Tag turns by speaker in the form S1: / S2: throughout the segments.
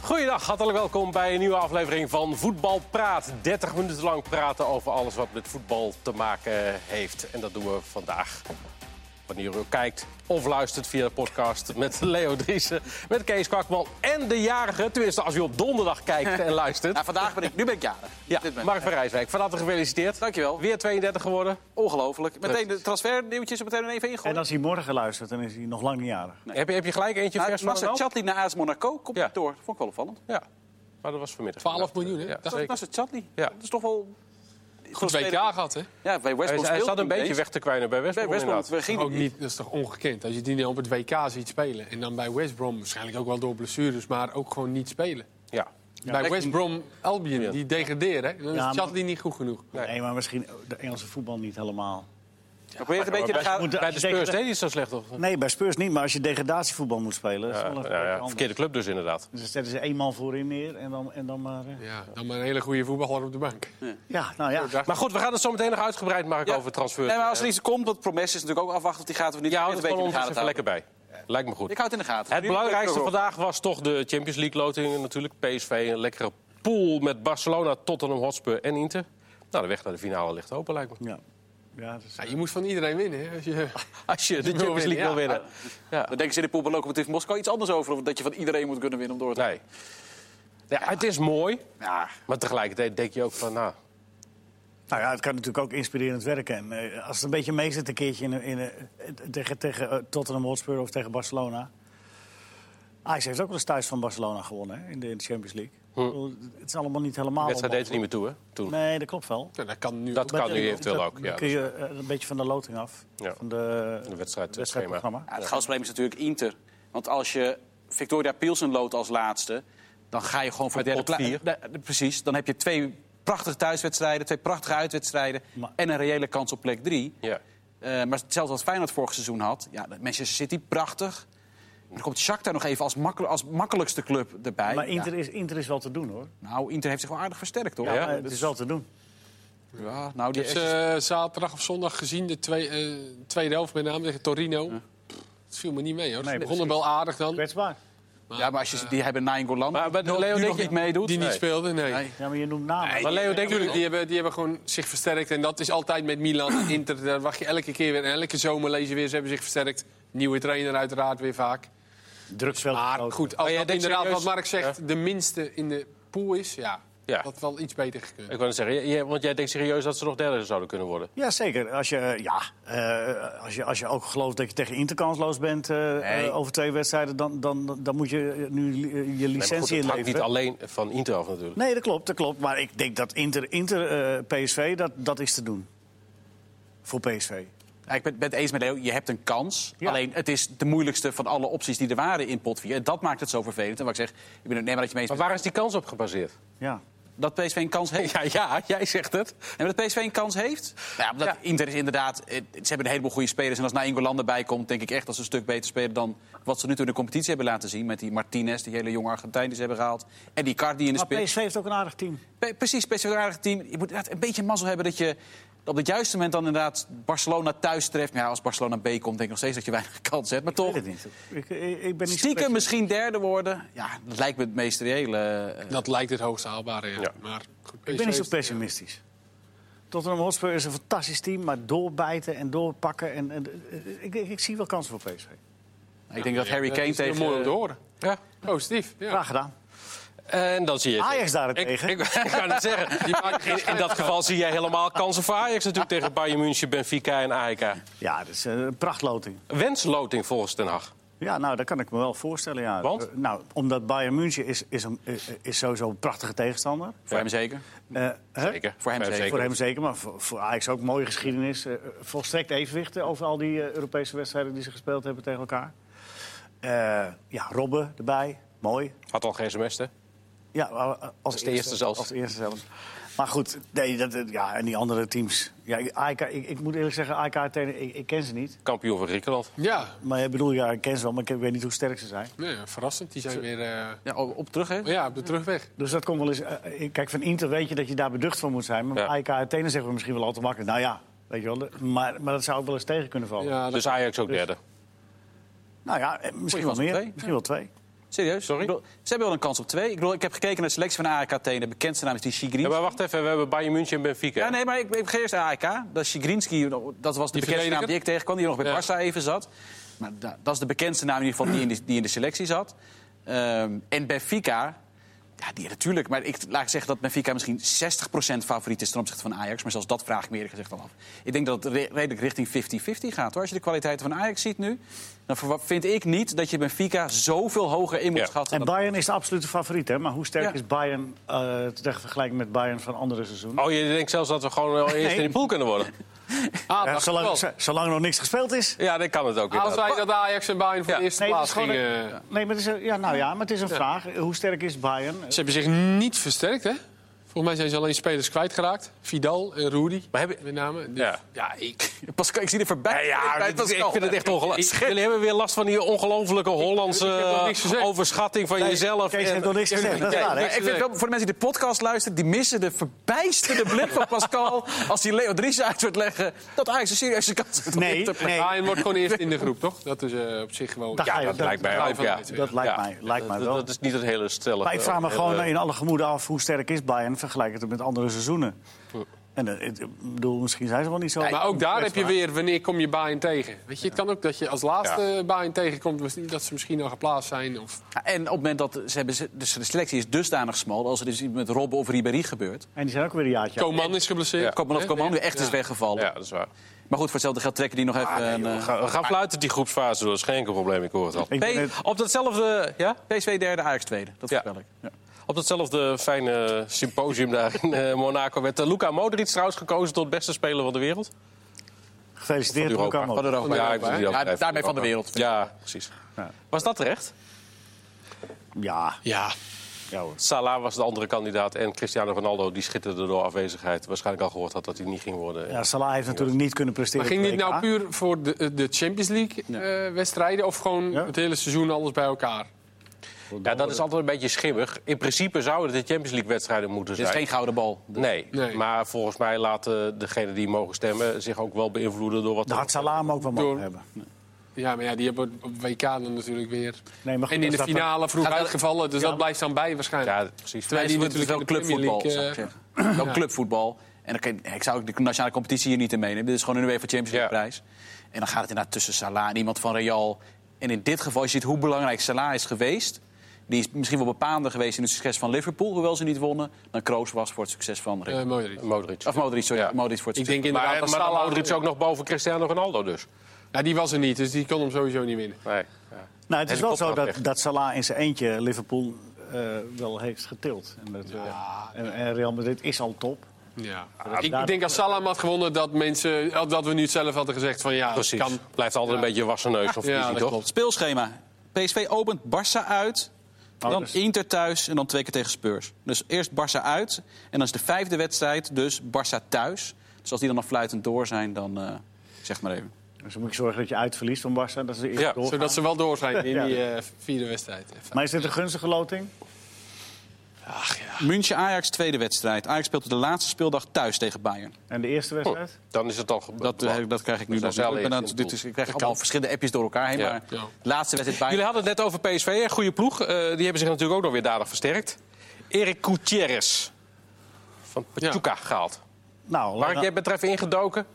S1: Goeiedag, hartelijk welkom bij een nieuwe aflevering van Voetbal Praat. 30 minuten lang praten over alles wat met voetbal te maken heeft. En dat doen we vandaag. Wanneer u ook kijkt of luistert via de podcast met Leo Driessen, met Kees Kwakman en de jarige. Tenminste, als u op donderdag kijkt en luistert.
S2: Nou, vandaag ben ik, nu ben ik jarig.
S1: Ja,
S2: Dit moment.
S1: Mark van Rijswijk, van harte gefeliciteerd.
S2: Dankjewel.
S1: Weer 32 geworden.
S2: Ongelooflijk. Meteen de transfernieuwtjes er meteen er even ingooien.
S3: En als hij morgen luistert, dan is hij nog lang niet jarig.
S1: Heb, je, heb je gelijk eentje vers
S2: Nou,
S1: van
S2: Nasser
S1: een
S2: Chatli naar AS Monaco komt
S1: Ja.
S2: niet door. Vond ik wel opvallend.
S1: Ja, maar dat was vanmiddag.
S4: 12 miljoen, hè?
S1: Ja,
S4: Dat-
S1: zeker.
S2: Nasser Chatli.
S1: Ja.
S2: Dat is toch wel...
S4: Goed WK gehad, hè?
S2: Ja, bij West
S1: Hij,
S2: Brom
S1: hij
S2: speelt
S1: zat een
S2: niet
S1: beetje
S2: eens.
S1: weg te kwijnen bij West
S2: Bij
S1: Brom
S2: West Brom
S1: inderdaad.
S2: we gingen
S4: Ook niet, dat is toch ongekend. Als je die dan op het WK ziet spelen en dan bij West Brom, waarschijnlijk ook wel door blessures, maar ook gewoon niet spelen.
S1: Ja.
S4: bij West Brom Albion,
S1: Ja.
S4: die degraderen, hè? dan
S3: Ja,
S4: is
S3: maar-
S4: Chatley niet goed genoeg.
S1: Nee.
S3: Nee, maar misschien de Engelse voetbal niet helemaal.
S2: Ik probeer het een beetje te gaan...
S3: Moet-
S1: Bij
S3: als
S1: de
S3: je
S1: Spurs
S3: degrada-
S1: deed hij het zo slecht, of?
S3: Nee, bij Spurs niet. Maar als je degradatievoetbal moet spelen, dat is wel een
S1: Ja, ja,
S3: anders.
S1: verkeerde club dus inderdaad.
S3: Dus dan zetten ze één man voorin neer en dan, en dan maar... eh.
S4: Ja, dan maar een hele goede voetballer op de bank.
S3: Ja, nou ja.
S1: Maar goed, we gaan het zo meteen nog uitgebreid maken
S2: Ja.
S1: over transfers.
S2: Nee, maar als er iets komt, want Promes is natuurlijk ook afwachten of die gaat of niet.
S1: ja,
S2: Ik
S1: houdt
S2: probeer
S1: het gewoon
S2: het
S1: ons
S2: een
S1: even
S2: beetje in de
S1: lekker
S2: gaten
S1: bij. Lijkt me
S2: te
S1: goed.
S2: houden. Ik houd het in de gaten.
S1: Het
S2: Nu ben ik
S1: belangrijkste
S2: erop.
S1: vandaag was toch de Champions League lotingen natuurlijk. PSV, een lekkere pool met Barcelona, Tottenham, Hotspur en Inter. Nou, de weg naar de finale ligt open, lijkt me.
S3: ja. ja dus- dat is-
S4: Ja, je moet van iedereen winnen, hè? Als je...
S1: Als je de Champions League wil
S4: winnen,
S1: winnen. Ja.
S2: Dan denken ze in de pool bij Lokomotiv Moskou iets anders over. of Dat je van iedereen moet kunnen winnen om door te
S1: Nee. Ja, het is mooi,
S2: Ja,
S1: maar tegelijkertijd denk je ook van, nou...
S3: Nou ja, het kan natuurlijk ook inspirerend werken. En eh, als het een beetje mee zit een keertje in, een- in, een- eh, tegen, tegen eh, Tottenham Hotspur of tegen Barcelona. Ajax heeft ook wel eens thuis van Barcelona gewonnen hè, in, de, in de Champions League. Ik bedoel, Het is allemaal niet helemaal...
S1: Hm. De wedstrijd deed er niet
S3: onmogelijk.
S1: meer toe, hè? Toen.
S3: Nee, dat klopt wel.
S4: Nou, dat kan nu
S1: Dat
S4: ook.
S1: kan
S3: Maar,
S1: nu
S3: eh,
S1: eventueel
S3: dat-
S1: ook,
S3: dan
S1: ja.
S3: kun je eh, een beetje van de loting af.
S1: Ja.
S3: Van de,
S1: De wedstrijd-
S3: wedstrijdprogramma.
S2: Ja, het grootste probleem is natuurlijk Inter. Want als je Victoria Pilsen loodt als laatste... dan ga je gewoon
S1: Uit
S2: voor de derde
S1: pot
S2: plek. Da- da- Precies. Dan heb je twee prachtige thuiswedstrijden, twee prachtige uitwedstrijden...
S3: Maar-
S2: en een reële kans op plek drie.
S1: Ja.
S2: Eh, maar hetzelfde wat Feyenoord vorig seizoen had. Ja, dat Manchester City, prachtig. Dan komt Shakhtar nog even als, makkel- als makkelijkste club erbij.
S3: Maar Inter
S2: Ja,
S3: is, Inter is wel te doen, hoor.
S2: nou, Inter heeft zich wel aardig versterkt, hoor.
S1: Ja,
S3: Eh, het is wel te doen.
S2: Ja, nou, die
S4: Ik heb ze eh, zaterdag of zondag gezien, de twee, eh, tweede helft met name tegen Torino. Pff, Het viel me niet mee, hoor. Ze
S3: Nee,
S4: begonnen wel aardig dan.
S3: Kwetsbaar.
S2: ja, maar als je, die hebben Nainggolan,
S1: eh, Maar- maar
S2: die
S1: Leo,
S2: nu
S1: denk
S2: nog
S1: je-
S2: niet meedoet.
S4: Die niet
S1: Nee.
S4: speelde, nee.
S2: Nee.
S3: Ja, maar je noemt namen.
S1: Maar Leo, denk je-
S4: natuurlijk, die hebben, die hebben gewoon zich versterkt. En dat is altijd met Milan, Inter. Daar wacht je elke keer weer. En elke zomer lees je weer, ze hebben zich versterkt. Nieuwe trainer uiteraard weer vaak.
S3: Drugsveld.
S4: Maar goed,
S1: Maar
S4: als
S1: jij
S4: dat
S1: denkt
S4: inderdaad
S1: oh serieus-
S4: wat Mark zegt, de minste in de pool is, ja,
S1: Ja.
S4: dat wel iets beter gekund.
S1: Ik wou net zeggen, jij- want jij denkt serieus dat ze nog derde zouden kunnen worden.
S3: Ja, zeker. Als je, eh, ja, eh, als, je, als je ook gelooft dat je tegen Inter kansloos bent eh, eh, over twee wedstrijden... dan, dan, dan moet je eh, nu li- eh, je
S1: Nee, maar goed,
S3: licentie
S1: het hangt niet
S3: inleveren.
S1: alleen van Inter af natuurlijk.
S3: Nee, dat klopt, dat klopt. Maar ik denk dat Inter, Inter eh, PSV, dat, dat is te doen. Voor PSV.
S2: Ja, ik ben ben het eens met Leo, je hebt een kans.
S3: Ja.
S2: Alleen het is de moeilijkste van alle opties die er waren in pot 4. En dat maakt het zo vervelend. En wat ik zeg, ik ben het nee, maar dat je mee
S1: Maar
S2: eens
S1: waar is die kans op gebaseerd?
S3: Ja.
S2: bent, dat PSV een kans heeft.
S1: Ja, ja, jij zegt het.
S2: En dat PSV een kans heeft? Nou ja, omdat
S1: Ja.
S2: Inter is inderdaad... eh, Ze hebben een heleboel goede spelers. En als Nainggolan erbij komt, denk ik echt dat ze een stuk beter spelen... dan wat ze nu toe in de competitie hebben laten zien. Met die Martinez, die hele jonge Argentijn die ze hebben gehaald. En die Cardi in de
S3: Maar
S2: spits.
S3: PSV heeft ook een aardig team.
S2: Pe- Precies, PSV is een aardig team. Je moet inderdaad een beetje mazzel hebben dat je op het juiste moment dan inderdaad Barcelona thuis treft. Maar ja, als Barcelona B komt, denk ik nog steeds dat je weinig kans hebt. Maar
S3: Ik
S2: toch,
S3: weet het niet. Ik, ik, ik ben niet zo
S2: stiekem
S3: pessimistisch.
S2: misschien derde worden. Ja, dat lijkt me het meest reële. eh,
S4: Dat lijkt het hoogst haalbare, ja.
S1: Ja.
S4: Maar goed, eh,
S3: Ik ben niet zo
S4: PSV is-
S3: pessimistisch. Tottenham Hotspur is een fantastisch team, maar doorbijten en doorpakken. En, en, eh, ik, ik, ik zie wel kansen voor PSV.
S2: ik denk dat Harry
S4: Ja,
S2: Kane
S4: is heel
S2: tegen...
S4: mooi om te horen.
S1: eh, Ja.
S4: Positief, ja.
S3: Graag gedaan.
S1: En dan zie je... het.
S3: Ajax
S1: Ik, ik,
S3: daarentegen.
S1: ik ga het zeggen. Die maken geen- in, dat geval zie jij helemaal kansen voor Ajax natuurlijk tegen Bayern München, Benfica en AEK.
S3: Ja, dat is eh, een prachtloting.
S1: Wensloting volgens Den Haag.
S3: Ja, nou, dat kan ik me wel voorstellen. Ja.
S1: Want?
S3: Eh, nou, omdat Bayern München is, is, een, eh, is sowieso een prachtige tegenstander.
S2: Voor hem zeker.
S3: Eh, hè?
S1: Zeker.
S2: Voor hem
S1: Voor hem
S2: zeker.
S3: Voor hem zeker, maar voor, voor Ajax ook mooie geschiedenis. Eh, eh, volstrekt evenwicht eh, over al die eh, Europese wedstrijden die ze gespeeld hebben tegen elkaar. Eh, ja, Robben erbij. Mooi.
S1: Had al geen semester.
S3: Ja, eh, als,
S1: eerste zelfs.
S3: Als eerste zelfs. Maar goed, nee, dat, eh, ja, en die andere teams. Ja, ik- AEK, ik, ik moet eerlijk zeggen, AEK, trainer, ik, ik ken ze niet.
S1: Kampioen van Griekenland.
S4: Ja,
S3: Maar ik bedoel, ja, ik ken ze wel, maar ik weet niet hoe sterk ze zijn.
S4: nee, verrassend. Die zijn weer eh,
S2: Ja, op op terug, hè?
S4: ja, op de terugweg.
S3: Dus dat komt wel eens... eh, kijk, van Inter weet je dat je daar beducht van moet zijn. Maar
S1: Ja.
S3: AEK Athene zeggen we misschien wel al te makkelijk. Nou ja, weet je wel. de- Maar, maar dat zou ook wel eens
S1: Oh,
S3: tegen kunnen vallen.
S4: Ja, dat-
S1: Dus Ajax ook derde.
S3: Nou ja, eh, misschien
S2: Goeie
S3: wel
S2: kans op
S3: meer.
S2: twee.
S3: Misschien wel twee.
S2: Serieus?
S1: Sorry?
S2: Ik bedoel, ze hebben wel een kans op twee. Ik, bedoel, ik heb gekeken naar de selectie van de AEK Athene. De bekendste naam is die Shigrin.
S1: Ja, maar wacht even, we hebben Bayern München en Benfica.
S2: Ja, nee, maar ik, ik geef eerst de AEK. Dat is Sigrinski, dat was de bekendste naam
S4: verdediger?
S2: die ik tegenkwam. Die nog bij
S4: Ja.
S2: Barça even zat. Maar da- dat is de bekendste naam in ieder geval die in de, die in de selectie zat. Ehm, en Benfica, ja, die natuurlijk. Maar ik laat ik zeggen dat Benfica misschien 60% favoriet is ten opzichte van Ajax. Maar zelfs dat vraag ik me eerlijk gezegd al af. Ik denk dat het re- redelijk richting 50-50 gaat. Hoor. Als je de kwaliteiten van Ajax ziet nu... dan verwa- vind ik niet dat je Benfica zoveel hoger in moet
S1: Ja.
S2: schatten.
S3: En
S2: dan-
S3: Bayern is de absolute favoriet, hè? Maar hoe sterk
S2: Ja.
S3: is Bayern eh ter vergelijking met Bayern van andere seizoenen?
S1: Oh, je denkt zelfs dat we gewoon wel eerst
S3: Nee.
S1: in de pool kunnen worden?
S4: Ah,
S3: Ja,
S4: dacht ik wel.
S3: Eh, zolang, z- zolang nog niks gespeeld is.
S1: Ja, dat kan het ook.
S4: Als
S1: inderdaad.
S4: wij dat Ajax en Bayern voor
S1: Ja.
S4: de eerste
S3: Nee, dat
S4: plaats
S3: is gewoon
S4: gingen... eh,
S3: een- Nee, maar het is, een- ja, nou ja, maar het is een vraag. Hoe sterk is Bayern?
S4: Ze hebben zich niet versterkt, hè? Volgens mij zijn ze alleen spelers kwijtgeraakt. Vidal en Rudy,
S1: Maar heb je-
S4: met name. Dus-
S1: Ja.
S4: ja, ik...
S2: Pascal, ik zie er voorbij.
S1: Ja,
S2: Bij
S1: dit is- ik
S2: Pascal.
S1: vind het echt ongelooflijk. Jullie hebben weer last van die ongelofelijke Hollandse
S4: ik heb nog niks gezegd.
S1: eh, overschatting van jezelf.
S3: Kees
S1: en-
S3: heeft nog niks gezegd. Dat
S1: eh,
S3: is
S1: Nee,
S3: waar, hè?
S2: Ja, ik vind het wel, voor de mensen die de podcast luisteren, die missen de verbijsterde blik van Pascal als die Leo Dries uit wordt leggen dat Ajax een serieuze kans heeft. om
S3: Nee,
S2: dit te
S3: nee.
S4: Bayern wordt gewoon eerst in de groep, toch? Dat is eh, op zich gewoon...
S3: Daar ga je-
S1: dat lijkt mij
S4: Ah, dat-
S1: ook, ja.
S4: dat-
S3: Dat lijkt
S1: Ja.
S3: mij, lijkt mij
S1: Dat,
S3: wel.
S1: dat is niet het hele stellige. Eh,
S3: Maar ik vraag me
S1: hele-
S4: eh,
S3: gewoon in alle gemoeden af hoe sterk is Bayern vergelijkt het met andere seizoenen. En eh, ik bedoel, misschien zijn ze wel niet zo.
S4: Maar ook daar heb je weer, wanneer kom je Bayern tegen? Weet je, het kan ook dat je als laatste Bayern tegenkomt... misschien- dat ze misschien al geplaatst zijn. Of...
S2: Ja, en op het moment dat ze hebben, ze- dus de selectie is dusdanig smal, als er dus iets met Robben of Ribéry gebeurt,
S3: En die zijn ook weer een jaartje.
S4: Coman is geblesseerd.
S2: Koopman of
S4: Hè?
S2: Coman nu echt is
S4: Ja.
S2: weggevallen.
S1: Ja, dat is waar.
S2: Maar goed, voor hetzelfde geld trekken die nog even een, eh,
S1: We gaan, we gaan fluiten die groepsfase door, dat is geen enkel probleem, ik hoor het al.
S3: Ik ben het-
S2: P- op datzelfde, ja? PSV derde, Ajax tweede. Dat
S1: Ja.
S2: voorspel ik. Ja.
S1: Op datzelfde fijne symposium daar in eh, Monaco werd eh, Luca Modric trouwens gekozen tot beste speler van de wereld.
S3: Gefeliciteerd,
S1: Europa.
S3: Luca Modric.
S2: Van Europa,
S1: Ja,
S2: ja.
S1: ik wil die
S2: Ja,
S1: ook even-
S2: daarmee van de wereld.
S1: Ja, precies.
S3: Ja.
S1: Was dat terecht?
S3: Ja,
S4: Ja,
S3: ja hoor.
S1: Salah was de andere kandidaat en Cristiano Ronaldo die schitterde door afwezigheid. Waarschijnlijk al gehoord had dat hij niet ging worden.
S3: Ja, Salah heeft natuurlijk niet kunnen presteren.
S4: maar ging
S3: op
S4: dit
S3: het
S4: nou
S3: WK.
S4: puur voor de, de Champions League-wedstrijden... of gewoon
S3: Ja.
S4: het hele seizoen alles bij elkaar?
S1: Ja, dat is altijd een beetje schimmig. In principe zouden het de Champions League wedstrijden moeten
S2: Dit
S1: zijn.
S2: is geen gouden bal.
S1: Nee.
S4: Nee.
S1: maar volgens mij laten degenen die mogen stemmen zich ook wel beïnvloeden door wat
S3: Daar
S4: Nou,
S3: had
S1: er...
S3: Salah hem ook wel mogen
S4: Door-
S3: hebben.
S4: Ja, maar ja, die hebben op WK dan natuurlijk weer.
S3: Nee, maar goed,
S4: en in
S3: als
S4: de
S3: dat-
S4: finale vroeg
S2: Gaat dat-
S4: uitgevallen, dus dat blijft dan bij waarschijnlijk.
S1: Ja, precies.
S4: Terwijl die
S2: Wij moeten
S4: natuurlijk
S2: wel
S4: in de Premier
S2: clubvoetbal.
S4: League,
S2: zou ik zeggen. eh, Wel clubvoetbal. En dan kan, ik zou ook de nationale competitie hier niet in meenemen. Dit is gewoon een UEFA Champions League
S1: Ja.
S2: prijs. En dan gaat het inderdaad tussen Salah en iemand van Real. En in dit geval, als je ziet hoe belangrijk Salah is geweest. Die is misschien wel bepaalder geweest in het succes van Liverpool, hoewel ze niet wonnen. Dan Kroos was voor het succes van Real.
S4: Eh, mooi, Ries.
S1: Modric.
S2: of Modric, sorry.
S1: ja.
S2: Modric voor het succes.
S4: Ik denk inderdaad
S1: maar eh,
S4: dat
S1: maar dan
S4: Salah...
S1: Modric ook nog boven Cristiano Ronaldo dus.
S4: Ja, die was er niet, dus die kon hem sowieso niet winnen.
S1: Nee.
S3: Nou, het
S1: En
S3: is
S1: de
S3: wel
S1: kop
S3: zo
S1: ook
S3: dat,
S1: weg.
S3: dat Salah in zijn eentje Liverpool eh, wel heeft getild. En, dat, eh, en, en Real Madrid is al top.
S4: Ja. ik,
S3: daar-
S4: ik denk als Salah hem had gewonnen, dat, mensen, dat we nu zelf hadden gezegd van ja, dat
S1: Precies.
S4: kan.
S1: Blijft altijd een beetje een wassen neus of
S4: Ja,
S1: visie,
S4: dat
S1: toch?
S4: klopt.
S2: Speelschema. PSV opent Barça uit.
S1: Oh,
S2: dan
S3: dus-
S2: Inter thuis en dan twee keer tegen Spurs. Dus eerst Barça uit. En dan is de vijfde wedstrijd dus Barça thuis. Dus als die dan nog fluitend door zijn, dan eh, zeg maar even.
S3: Dus dan moet je zorgen dat je uitverliest van Barça. Dat ze eerst
S1: Ja,
S3: doorgaan.
S4: Zodat ze wel door zijn in
S3: Ja.
S4: die eh, vierde wedstrijd.
S3: Maar is dit een gunstige loting?
S4: Ach ja.
S2: München-Ajax, tweede wedstrijd. Ajax speelt op de laatste speeldag thuis tegen Bayern.
S3: En de
S4: Oh.
S3: eerste wedstrijd?
S1: Dan is het al gebeurd.
S2: Dat, eh, dat krijg ik nu
S1: Dus
S2: nog
S1: dat is wel
S2: niet. Ik ben
S1: eerst
S2: aan-
S1: in de
S2: dit is,
S1: pool.
S2: Ik krijg allemaal verschillende appjes door elkaar heen.
S1: Ja.
S2: Maar
S4: Ja.
S2: laatste wedstrijd Bayern.
S1: Jullie hadden het net over PSV, een goede ploeg. Eh, die hebben zich natuurlijk ook nog weer dadig versterkt. Erik Gutierrez van Pachuca gehaald.
S3: Nou,
S1: Mark,
S3: laat-
S1: jij bent er even ingedoken.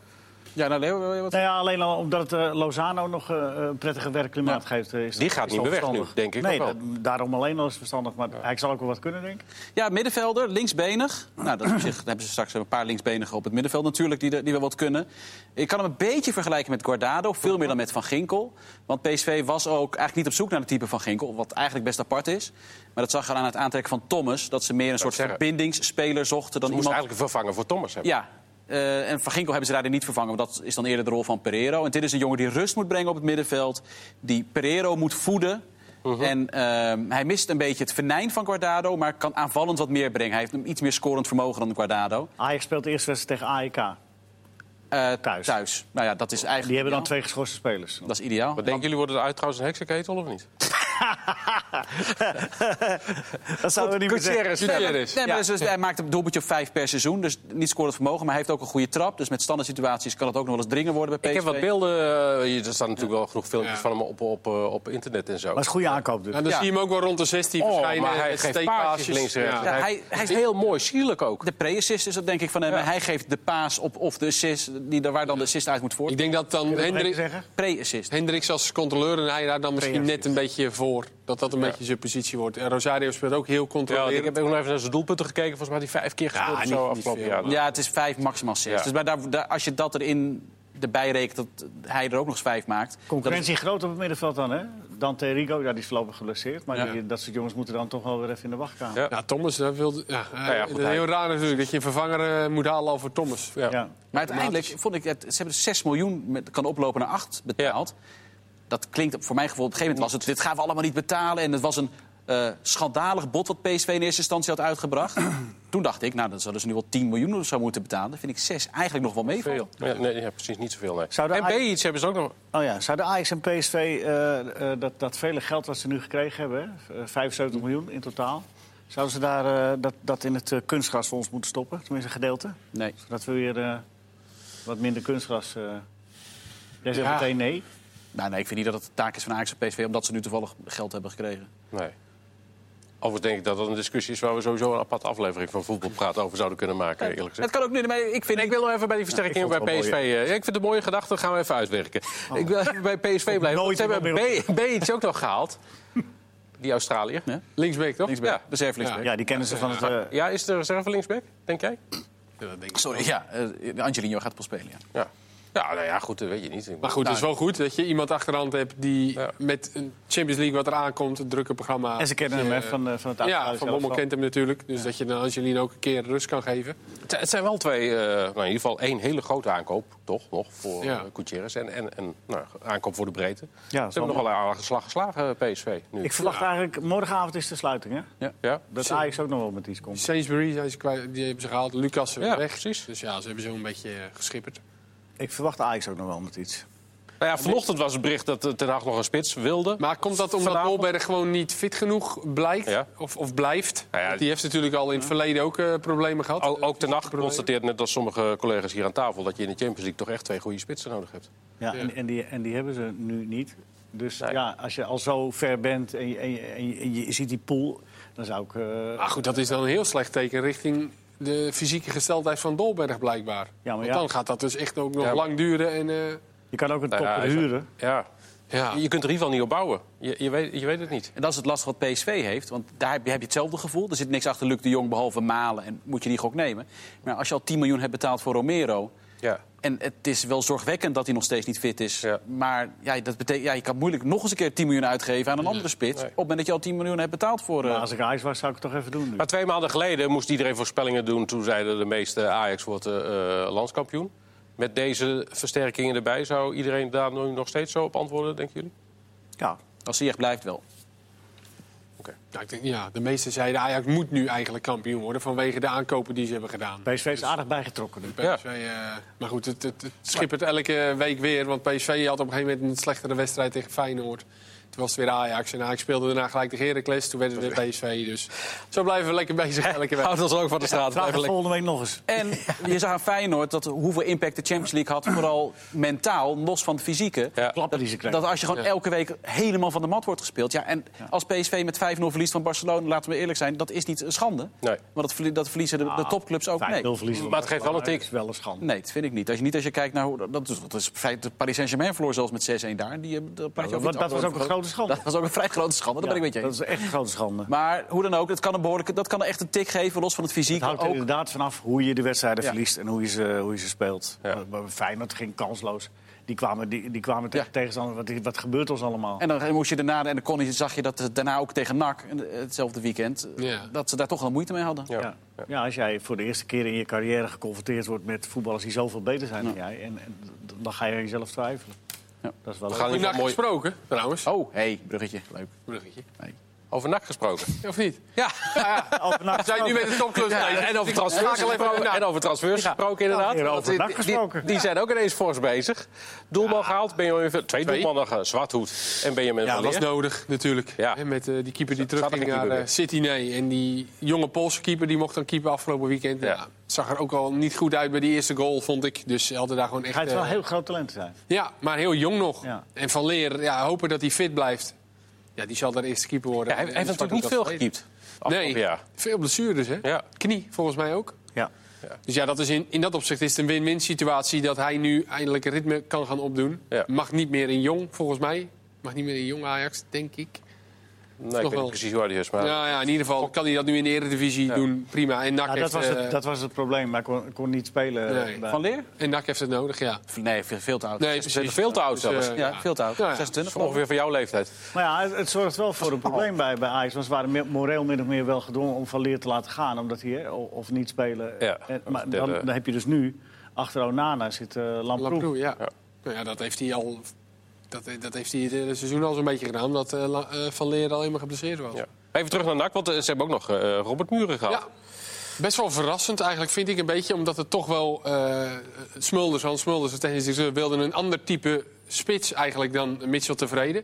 S2: Ja, nou Leo, wil je wat?
S3: Nou ja, alleen al omdat het eh, Lozano nog eh, een prettiger werkklimaat geeft. eh, is
S1: Die
S3: dat-
S1: gaat
S3: is
S1: niet
S3: dat
S1: meer weg nu,
S3: verstandig.
S1: denk ik
S3: Nee,
S1: ook wel.
S3: da- daarom alleen al is het verstandig. Maar hij zal ook wel wat kunnen, denk ik.
S2: Ja, middenvelder, linksbenig. Nou, dat is op zich, dan hebben ze straks een paar linksbenigen op het middenveld natuurlijk die, er- die wel wat kunnen. Ik kan hem een beetje vergelijken met Guardado, veel meer dan met Van Ginkel. Want PSV was ook eigenlijk niet op zoek naar het type Van Ginkel, wat eigenlijk best apart is. Maar dat zag je aan het aantrekken van Thomas, dat ze meer een soort
S1: zeggen.
S2: verbindingsspeler zochten dan
S1: Moest
S2: iemand...
S1: eigenlijk een vervanger voor Thomas hebben.
S2: Ja, eh, en Van Ginkel hebben ze daarin niet vervangen. Want dat is dan eerder de rol van Pereiro. En dit is een jongen die rust moet brengen op het middenveld. Die Pereiro moet voeden. En ehm, hij mist een beetje het venijn van Guardado, maar kan aanvallend wat meer brengen. Hij heeft een iets meer scorend vermogen dan Guardado.
S3: Ajax speelt de eerste wedstrijd tegen E AEK.
S2: Eh,
S3: Thuis.
S2: Thuis. Nou ja, dat is eigenlijk.
S3: Die hebben
S2: ideaal.
S3: dan twee geschorste spelers.
S2: Dat is ideaal.
S1: Wat denken jullie, worden er uit trouwens een heksenketel of niet?
S3: dat zouden we niet meer zeggen.
S1: Gutierrez.
S2: Nee, maar-
S4: Gutierrez.
S2: nee, maar dus- dus hij maakt een doelpuntje of vijf per seizoen. Dus niet scorend vermogen, maar hij heeft ook een goede trap. Dus met standaard situaties kan het ook nog wel eens dringen worden bij
S1: Ik
S2: PSV.
S1: heb wat beelden. eh, er staan natuurlijk wel genoeg filmpjes
S4: Ja.
S1: van hem op, op, eh, op internet en zo.
S3: Maar het is een goede aankoop dus.
S4: En Nou, dan
S2: Ja.
S4: zie je hem ook wel rond de 16
S1: Oh,
S4: verschijnen.
S1: maar hij
S4: met
S1: geeft
S4: steekpaasjes.
S1: paasjes links en rechts.
S4: Ja.
S2: Ja,
S1: Hij-
S2: hij, hij
S1: Het
S2: is
S1: is
S2: heel...
S1: heel mooi, sierlijk ook.
S2: De pre-assist is dat denk ik van hem. En hij geeft de paas op of de assist, die, daar- waar dan de assist uit moet
S4: Ik
S2: voort.
S4: denk dat dan
S3: Wil je nog even
S4: Hendrik,
S3: zeggen?
S2: Pre-assist.
S4: Hendricks als controleur en hij daar dan misschien net een beetje voor. Dat dat een beetje zijn positie wordt. En Rosario speelt ook heel
S1: Ja, ik heb
S4: controlerend.
S1: ook nog even naar zijn doelpunten gekeken. Volgens mij had hij vijf keer gespeeld of
S4: niet-
S1: zo
S4: niet
S1: afgelopen
S4: veel,
S1: jaar.
S2: Ja, het is vijf, maximaal zes.
S1: Ja.
S2: Dus maar daar, daar- als je dat erin erbij rekent, dat hij er ook nog eens vijf maakt.
S3: Concurrentie groot op het middenveld dan, hè? Dante Rigo, ja, die is voorlopig geblesseerd. Maar
S2: Ja.
S3: die- dat soort jongens moeten dan toch wel weer even in de wachtkamer.
S1: Ja.
S3: Ja.
S4: Ja, Thomas, dat wilde, ja, eh,
S1: ja, goed,
S4: het is
S1: hij-
S4: heel raar natuurlijk dat je een vervanger eh, moet halen al voor Thomas. Ja.
S2: Maar uiteindelijk vond ik, het, ze hebben 6 miljoen, met, kan oplopen naar 8 betaald. Dat klinkt voor mijn gevoel, op een gegeven moment was het... dit gaan we allemaal niet betalen. En het was een eh, schandalig bod wat PSV in eerste instantie had uitgebracht. Toen dacht ik, nou, dan zullen ze nu wel 10 miljoen of zo moeten betalen. Dat vind ik 6 eigenlijk nog wel mee.
S1: Veel. Ja, nee, ja, precies niet zoveel. Nee.
S3: Zou de
S1: en B
S3: Ajax-
S1: iets hebben ze ook nog.
S3: Oh ja, zouden Ajax en PSV eh, eh, dat, dat vele geld wat ze nu gekregen hebben, hè, eh, 75 miljoen in totaal, zouden ze daar, eh, dat, dat in het eh, kunstgrasfonds moeten stoppen? Tenminste, een gedeelte.
S2: Nee.
S3: Zodat we weer eh, wat minder kunstgras. eh Jij zegt
S4: Ja.
S3: meteen nee.
S2: Nou, nee, ik vind niet dat het de taak is van Ajax en PSV... omdat ze nu toevallig geld hebben gekregen.
S1: Nee. Overigens denk ik dat dat een discussie is waar we sowieso een aparte aflevering van Voetbalpraat over zouden kunnen maken, eerlijk gezegd.
S2: Het kan ook nu, maar ik vind...
S1: Ik wil nog even bij die versterkingen
S3: Ja, ik vond
S1: bij
S3: het
S1: PSV.
S3: wel
S1: eh,
S3: Oh.
S1: ik vind het een mooie gedachte, dat gaan we even uitwerken. Ik wil even bij PSV blijven. want
S3: nooit
S1: Ze hebben
S3: iemand meer
S1: B, iets ook nog gehaald. Die Australiër.
S2: Ja.
S1: Linksback, toch?
S2: Linksback,
S1: Ja.
S2: reserve linksback.
S3: Ja, die kennen ze van het. eh,
S1: Ja, is de reserve linksback, denk jij?
S2: Sorry, ja, eh, Angelino gaat pas spelen, ja.
S1: Ja. Ja, nou ja, goed, dat weet je niet. nou,
S4: Maar goed, het is wel goed dat je iemand achterhand hebt die
S1: Ja.
S4: met een Champions League wat eraan komt, een drukke programma.
S3: en ze kennen hem hè, van, eh, van het
S4: ja,
S3: Ajax.
S4: Van Bommel kent hem natuurlijk. Dus dat je dan Angelino ook een keer rust kan geven.
S1: Het het zijn wel twee, eh, nou in ieder geval één hele grote aankoop, toch? Nog voor
S4: Ja.
S1: ja. En, en, en nou, aankoop voor de breedte.
S3: Ja,
S1: Ze hebben nog wel een aardige slag geslagen, eh, PSV. Nu.
S3: Ik verwacht eigenlijk, morgenavond is de sluiting, hè?
S1: Ja.
S3: Dat Ajax ook nog wel met iets komt.
S4: Sainsbury zijn ze kwijt, die hebben ze gehaald. Lucas
S1: Ja,
S4: weg.
S1: precies.
S4: Dus ja, ze hebben zo een beetje eh, geschipperd.
S3: Ik verwacht Ajax ook nog wel met iets.
S1: Nou ja, vanochtend was het bericht dat eh, Ten Hag nog een spits wilde.
S4: Maar komt dat omdat
S1: Vanavond?
S4: Dolberg gewoon niet fit genoeg blijkt?
S1: Ja.
S4: Of, of blijft?
S1: Nou ja,
S4: Want die heeft natuurlijk al in het verleden ook eh, problemen gehad.
S1: Ook, ook Ten Hag
S4: Problemen.
S1: constateert, net als sommige collega's hier aan tafel... dat je in de Champions League toch echt twee goede spitsen nodig hebt.
S3: Ja, En, en, die, en die hebben ze nu niet. Dus
S1: Nee.
S3: ja, als je al zo ver bent en je, en je, en je- en je ziet die pool, dan zou ik... eh,
S4: Maar goed, dat is dan een heel slecht teken richting de fysieke gesteldheid van Dolberg blijkbaar.
S3: maar
S4: Want
S3: ja.
S4: dan gaat dat dus echt ook nog
S1: Ja, maar-
S4: lang duren. En, eh,
S3: je kan ook een
S1: Nou ja,
S3: topper
S1: hij is-
S3: huren.
S1: Ja.
S4: ja.
S1: Je kunt er in ieder geval niet op bouwen. Je, je, weet, je weet het niet.
S2: En dat is het last wat PSV heeft, want daar heb je, heb je hetzelfde gevoel. Er zit niks achter Luc de Jong behalve malen en moet je die gok nemen. Maar als je al 10 miljoen hebt betaald voor Romero...
S1: Ja.
S2: en het is wel zorgwekkend dat hij nog steeds niet fit is...
S1: Ja.
S2: maar ja, dat betekent, ja, je kan moeilijk nog eens een keer 10 miljoen uitgeven aan een andere spits... op het moment dat je al 10 miljoen hebt betaald voor... eh,
S3: Mm. Maar als ik Ajax was, zou ik het toch even doen nu.
S1: Maar twee maanden geleden moest iedereen voorspellingen doen. Toen zeiden de meeste Ajax wordt eh, eh, landskampioen. Met deze versterkingen erbij zou iedereen daar nu nog steeds zo op antwoorden, denken jullie?
S3: Ja,
S2: Als hij echt blijft wel.
S4: Nou, ik denk, ja, de meesten zeiden Ajax moet nu eigenlijk kampioen worden vanwege de aankopen die ze hebben gedaan.
S3: PSV is aardig bijgetrokken nu.
S1: Ja.
S4: PSV, eh, maar goed, het, het, het schippert elke week weer. Want PSV had op een gegeven moment een slechtere wedstrijd tegen Feyenoord. Toen was het weer Ajax. En Ajax speelde daarna gelijk tegen Heracles. Toen werd het weer PSV. Dus zo blijven we lekker bezig elke week.
S1: Houd ons ook van de straat.
S3: Vraag het volgende week nog eens.
S2: En je zag aan Feyenoord dat hoeveel impact de Champions League had... vooral mentaal, los van het fysieke.
S1: Ja.
S3: Klappen die ze krijgen.
S2: Dat als je gewoon elke week helemaal van de mat wordt gespeeld. Ja, en als PSV met 5-0 verliest van Barcelona, laten we eerlijk zijn, dat is niet een schande.
S1: Nee.
S2: Want dat, verlie- dat verliezen de,
S3: Ah,
S2: de topclubs ook mee.
S3: 5-0 verliezen.
S1: Maar het geeft wel een tik.
S3: Dat is wel een schande.
S2: Nee, dat vind ik niet. Als je, niet als je kijkt naar hoe. Dat is, dat is in feite Paris Saint-Germain verloor zelfs met 6-1 daar. Die, eh, daar praat je
S3: Ja,
S2: over iets
S3: want dat was ook
S2: anders.
S3: een grote schande.
S2: Dat was ook een vrij grote schande, dat ben ik met je
S3: dat
S2: eens.
S3: is echt een grote schande.
S2: Maar hoe dan ook, dat kan, een behoorlijke, dat kan echt een tik geven, los van het fysiek.
S3: Het houdt er
S2: ook.
S3: inderdaad vanaf hoe je de wedstrijden
S2: Ja.
S3: verliest en hoe je ze, hoe je ze speelt.
S1: Ja.
S3: Maar- Maar Feyenoord ging kansloos. Die kwamen, die, die kwamen tegen
S2: Ja.
S3: tegenstander. Wat, wat gebeurt ons allemaal?
S2: En dan moest je daarna, en dan kon je, zag je dat het daarna ook tegen NAC, en, eh, hetzelfde weekend, eh,
S4: Ja.
S2: dat ze daar toch wel moeite mee hadden.
S1: Ja.
S3: Ja. Ja, als jij voor de eerste keer in je carrière geconfronteerd wordt met voetballers die zoveel beter zijn dan jij, en, en d- dan ga je aan jezelf twijfelen.
S2: Ja.
S3: Dat is wel
S1: We gaan
S3: een-
S1: in ieder
S4: Goedendag
S1: geval mooi...
S4: gesproken, trouwens.
S2: Oh, hey, bruggetje, leuk.
S4: Bruggetje.
S2: Nee.
S1: Over NAC gesproken.
S4: Of niet?
S2: Ja,
S4: We zijn nu met de topclubs
S1: Ja,
S4: bezig.
S1: en over
S4: Ik schakel
S1: transfers
S4: even
S1: gesproken,
S4: naar-
S1: en over transfers gesproken inderdaad.
S3: Ja, over
S1: Want die-
S3: NAC
S1: die-
S3: gesproken.
S1: Die zijn ook ineens fors bezig. Doelman gehaald, Benjamin, twee, twee doelmannen gehaald. Zwarthoed en Benjamin
S3: Ja,
S1: van
S4: Dat was
S1: Leer.
S4: nodig, natuurlijk.
S1: Ja.
S4: Hè, Met eh, die keeper die
S1: Zat- zat er
S4: terugging
S1: een
S4: naar
S1: keeper
S4: eh,
S1: bij?
S4: City, nee. En die jonge Poolse keeper, die mocht dan keeper afgelopen weekend.
S1: Ja.
S4: Ja. zag er ook al niet goed uit bij die eerste goal, vond ik. Dus ze hadden daar gewoon echt...
S3: Hij is wel
S4: eh,
S3: een heel groot talent zijn.
S4: Ja, maar heel jong nog.
S3: Ja.
S4: En Van Leer, ja, hopen dat hij fit blijft. Ja, die zal daar eerste keeper worden.
S1: Ja, hij hij
S4: En
S1: heeft
S4: Zwart
S1: natuurlijk niet
S4: doet
S1: veel
S4: dat verleden.
S1: gekiept. afgelopen
S4: Nee,
S1: jaar.
S4: veel blessures, hè?
S1: Ja.
S4: Knie, volgens mij ook.
S3: Ja.
S4: Dus ja, dat is in, in dat opzicht is het een win-win situatie dat hij nu eindelijk een ritme kan gaan opdoen.
S1: Ja.
S4: Mag niet meer in jong, volgens mij. Mag niet meer in jong Ajax, denk ik.
S1: Nee, ik weet niet
S4: wel-
S1: precies waar die is, maar...
S4: Nou ja, in ieder geval kan hij dat nu in de Eredivisie doen. Prima. En NAC,
S3: Ja, Ah, dat,
S4: heeft,
S3: was
S4: het,
S3: het, dat was het probleem. Maar ik kon, kon niet spelen.
S4: eh,
S3: eh,
S4: Nee.
S3: bij-
S2: Van Leer?
S4: en NAC heeft het nodig, ja.
S2: Nee, veel, veel te oud.
S4: Nee,
S1: Ze zijn
S4: precies.
S1: veel te oud
S4: Dus, eh,
S1: zelfs.
S2: ja, veel te oud.
S4: Nou ja,
S2: 26 nog.
S1: Ongeveer van jouw leeftijd.
S3: Maar ja, het, het zorgt wel voor een probleem bij, bij Ajax. Want ze waren mi- moreel min of meer wel gedwongen om Van Leer te laten gaan. Omdat hij, hè, o- of niet spelen.
S1: Ja,
S3: en,
S1: dat
S3: maar
S1: is de
S3: dan,
S1: derde.
S3: dan heb je dus nu, achter Onana zit eh Lamproe.
S4: Lamproe, ja.
S1: Ja.
S4: Nou ja, dat heeft hij al. Dat, dat heeft hij het hele seizoen al zo'n beetje gedaan, omdat eh, La- eh, Van Leer al helemaal geblesseerd was.
S1: Ja. Even terug naar NAC, want eh, ze hebben ook nog eh, Robert Muren gehad.
S4: Ja, best wel verrassend eigenlijk, vind ik een beetje. Omdat het toch wel... eh Smulders, Hans Smulders, de technisch directeur... wilde een ander type spits eigenlijk dan Mitchell tevreden.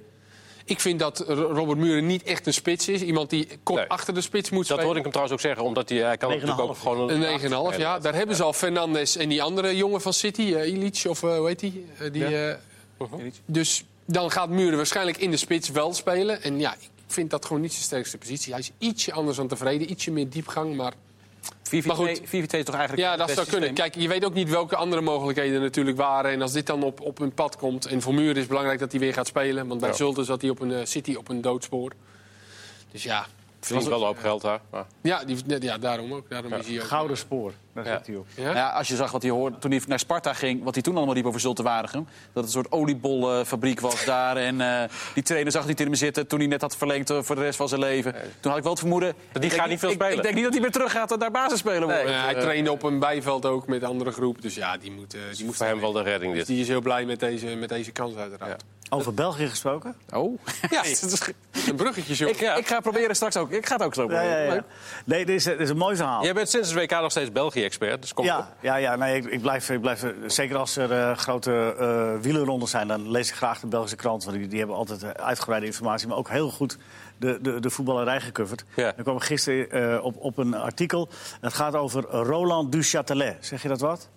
S4: Ik vind dat R- Robert Muren niet echt een spits is. Iemand die kort
S1: Nee.
S4: achter de spits
S1: Dus
S4: moet
S1: Dat
S4: spelen.
S1: hoorde ik hem trouwens ook zeggen, omdat hij, hij kan natuurlijk ook
S3: 9,5.
S1: gewoon...
S4: Een 9,5, ja. Daar hebben ze al Fernandes en die andere jongen van City, eh, Illich of eh, hoe heet die? Eh, die eh,
S1: Uh-huh.
S4: dus dan gaat Muren waarschijnlijk in de spits wel spelen. En ja, ik vind dat gewoon niet zijn sterkste positie. Hij is ietsje anders dan tevreden, ietsje meer diepgang. Maar
S2: 4
S4: Maar goed.
S2: 4 is toch eigenlijk
S4: ja,
S2: het
S4: dat
S2: beste
S4: zou kunnen.
S2: systeem?
S4: Kijk, je weet ook niet welke andere mogelijkheden er natuurlijk waren. En als dit dan op, op hun pad komt. En voor Muren is het belangrijk dat hij weer gaat spelen. Want bij
S1: Ja.
S4: Zulte zat hij op een eh, City op een doodspoor. Dus ja,
S1: Verdient wel een hoop geld daar. Maar...
S4: ja, die, ja daarom ook. Daarom is hij ook.
S3: Gouden spoor, daar
S1: Ja.
S3: zit hij op.
S4: Ja?
S2: Nou ja, als je zag wat hij hoorde toen hij naar Sparta ging, wat hij toen allemaal liep over Zulte Waregem. Dat het een soort oliebolfabriek was daar. En eh, die trainer zag niet in hem zitten toen hij net had verlengd eh, voor de rest van zijn leven. Toen had ik wel het vermoeden... ik denk
S1: gaat niet veel
S2: ik-
S1: spelen.
S2: Ik, denk niet dat hij weer terug gaat en daar basis spelen wordt.
S4: Eh, hij trainde op een bijveld ook met een andere groep. Dus ja, die moet, eh, die moet
S1: Voor hem wel de redding dus. dit.
S4: Die is heel blij met deze, met deze kans uiteraard.
S3: Over België gesproken?
S2: Oh.
S4: Ja, het is een bruggetje, zo.
S2: ik, eh, ik ga proberen straks ook. Ik ga het ook zo
S3: Ja,
S2: proberen.
S3: ja, ja.
S2: Leuk.
S3: Nee, dit is, dit is een mooi verhaal.
S1: Jij bent sinds het WK nog steeds België-expert, dus kom op.
S3: Ja, ja, ja nee, ik, ik blijf, ik blijf, zeker als er eh, grote eh wielerronden zijn, dan lees ik graag de Belgische krant. Want die, die hebben altijd eh, uitgebreide informatie, maar ook heel goed de, de, de voetballerij gecoverd.
S1: Ja.
S3: Ik kwam gisteren eh, op, op een artikel. Het gaat over Roland Duchatelet. Zeg je dat wat?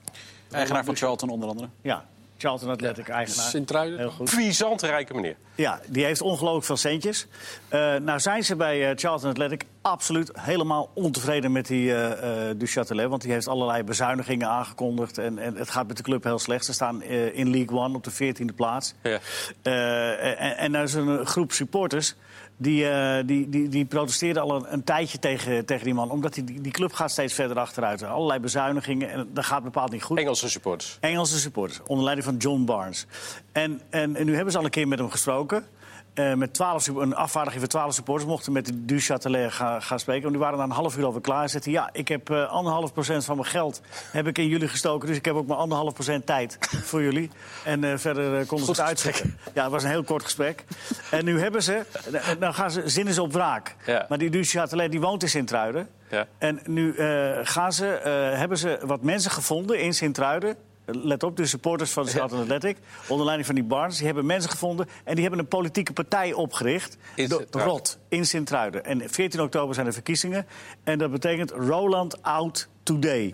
S2: Eigenaar van Charlton onder andere.
S3: Ja, Charlton Athletic eigenaar.
S4: Sint-Truiden.
S3: Heel goed.
S1: Puissant rijke meneer.
S3: Ja, die heeft ongelooflijk veel centjes. Eh, nou zijn ze bij eh, Charlton Athletic absoluut helemaal ontevreden met die eh eh, du Châtelet. Want die heeft allerlei bezuinigingen aangekondigd. En, en het gaat met de club heel slecht. Ze staan eh, in League One op de 14e plaats.
S1: Ja.
S3: Eh, en, en er is een groep supporters die, eh, die, die, die protesteerden al een, een tijdje tegen, tegen die man. Omdat die, die die club gaat steeds verder achteruit. Allerlei bezuinigingen en dat gaat bepaald niet goed.
S1: Engelse supporters.
S3: Engelse supporters, onder leiding van John Barnes. En, en, en nu hebben ze al een keer met hem gesproken. Eh, met 12, sup- een afvaardiging van 12 supporters mochten met de Du Châtelet gaan, gaan spreken. Want die waren na een half uur alweer klaar. En zeiden, ja, ik heb eh, anderhalf procent van mijn geld heb ik in jullie gestoken. Dus ik heb ook maar anderhalf procent tijd voor jullie. En eh, verder eh, konden ze het uitzetten. Ja, het was een heel kort gesprek. en nu hebben ze, en dan gaan ze, zinnen ze op wraak.
S1: Ja.
S3: Maar die Du Châtelet, die woont in Sint-Truiden.
S1: Ja.
S3: En nu eh, gaan ze, eh, hebben ze wat mensen gevonden in Sint-Truiden. Let op, de supporters van de Charlton Athletic, onder leiding van die Barnes, die hebben mensen gevonden en die hebben een politieke partij opgericht.
S1: In
S3: Do-
S1: Sint-Truiden.
S3: Rot, in Sint-Truiden. En 14 oktober zijn de verkiezingen en dat betekent Roland Out Today.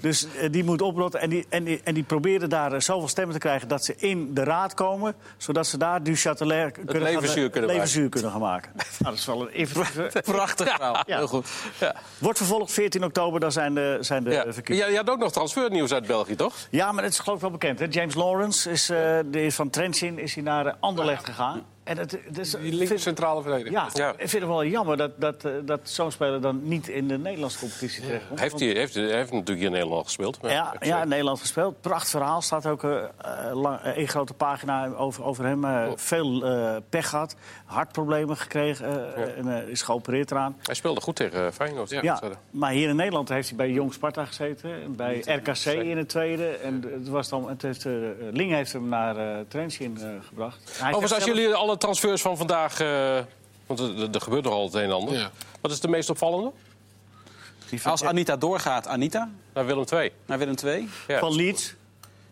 S3: Dus eh, die moet oprotten en die, en, die, en die proberen daar eh, zoveel stemmen te krijgen dat ze in de raad komen, zodat ze daar du Châtelet kunnen, gaan-
S1: leven zuur kunnen
S3: leven
S1: maken.
S3: zuur kunnen gaan maken. nou, dat is wel een even-
S2: Prachtig verhaal.
S3: Ja.
S2: Heel goed.
S3: Wordt vervolgd 14 oktober, dan zijn de, zijn de
S1: Ja.
S3: eh, verkiezingen.
S1: Ja, je had ook nog transfernieuws uit België, toch?
S3: Ja. maar het is geloof ik wel bekend. Hè? James Lawrence is, eh, die is van Trentin is hij naar eh, Anderlecht gegaan. En het, het is,
S4: Die linker
S3: vind,
S4: centrale verdediger.
S3: ja,
S1: Ja.
S3: ik vind het wel jammer dat, dat, eh, dat zo'n speler dan niet in de Nederlandse competitie terechtkomt.
S1: Heeft hij heeft, hij heeft natuurlijk hier in Nederland gespeeld. maar-
S3: Ja, ja, in Nederland gespeeld. Prachtig verhaal. Staat ook eh, eh, lang- eh, één grote pagina over, over hem.
S1: Oh.
S3: eh, Veel eh, pech gehad. Hartproblemen gekregen. eh, en, eh, is geopereerd eraan.
S1: Hij speelde goed tegen eh, Feyenoord. Ja.
S3: Ja, maar hier in Nederland heeft hij bij Jong Sparta gezeten. en Bij RKC in het tweede. En het was dan, het heeft, eh, Ling heeft hem naar eh Trentin eh, gebracht. Hij zegt
S1: Overigens, als
S3: zelf-
S1: jullie alle transfers van vandaag eh, Want er, er- er gebeurt nogal het een en ander.
S4: Ja.
S1: Wat is de meest opvallende?
S2: Als Anita doorgaat, Anita
S1: Naar Willem II.
S2: naar Willem II
S1: Ja.
S3: Van Leeds.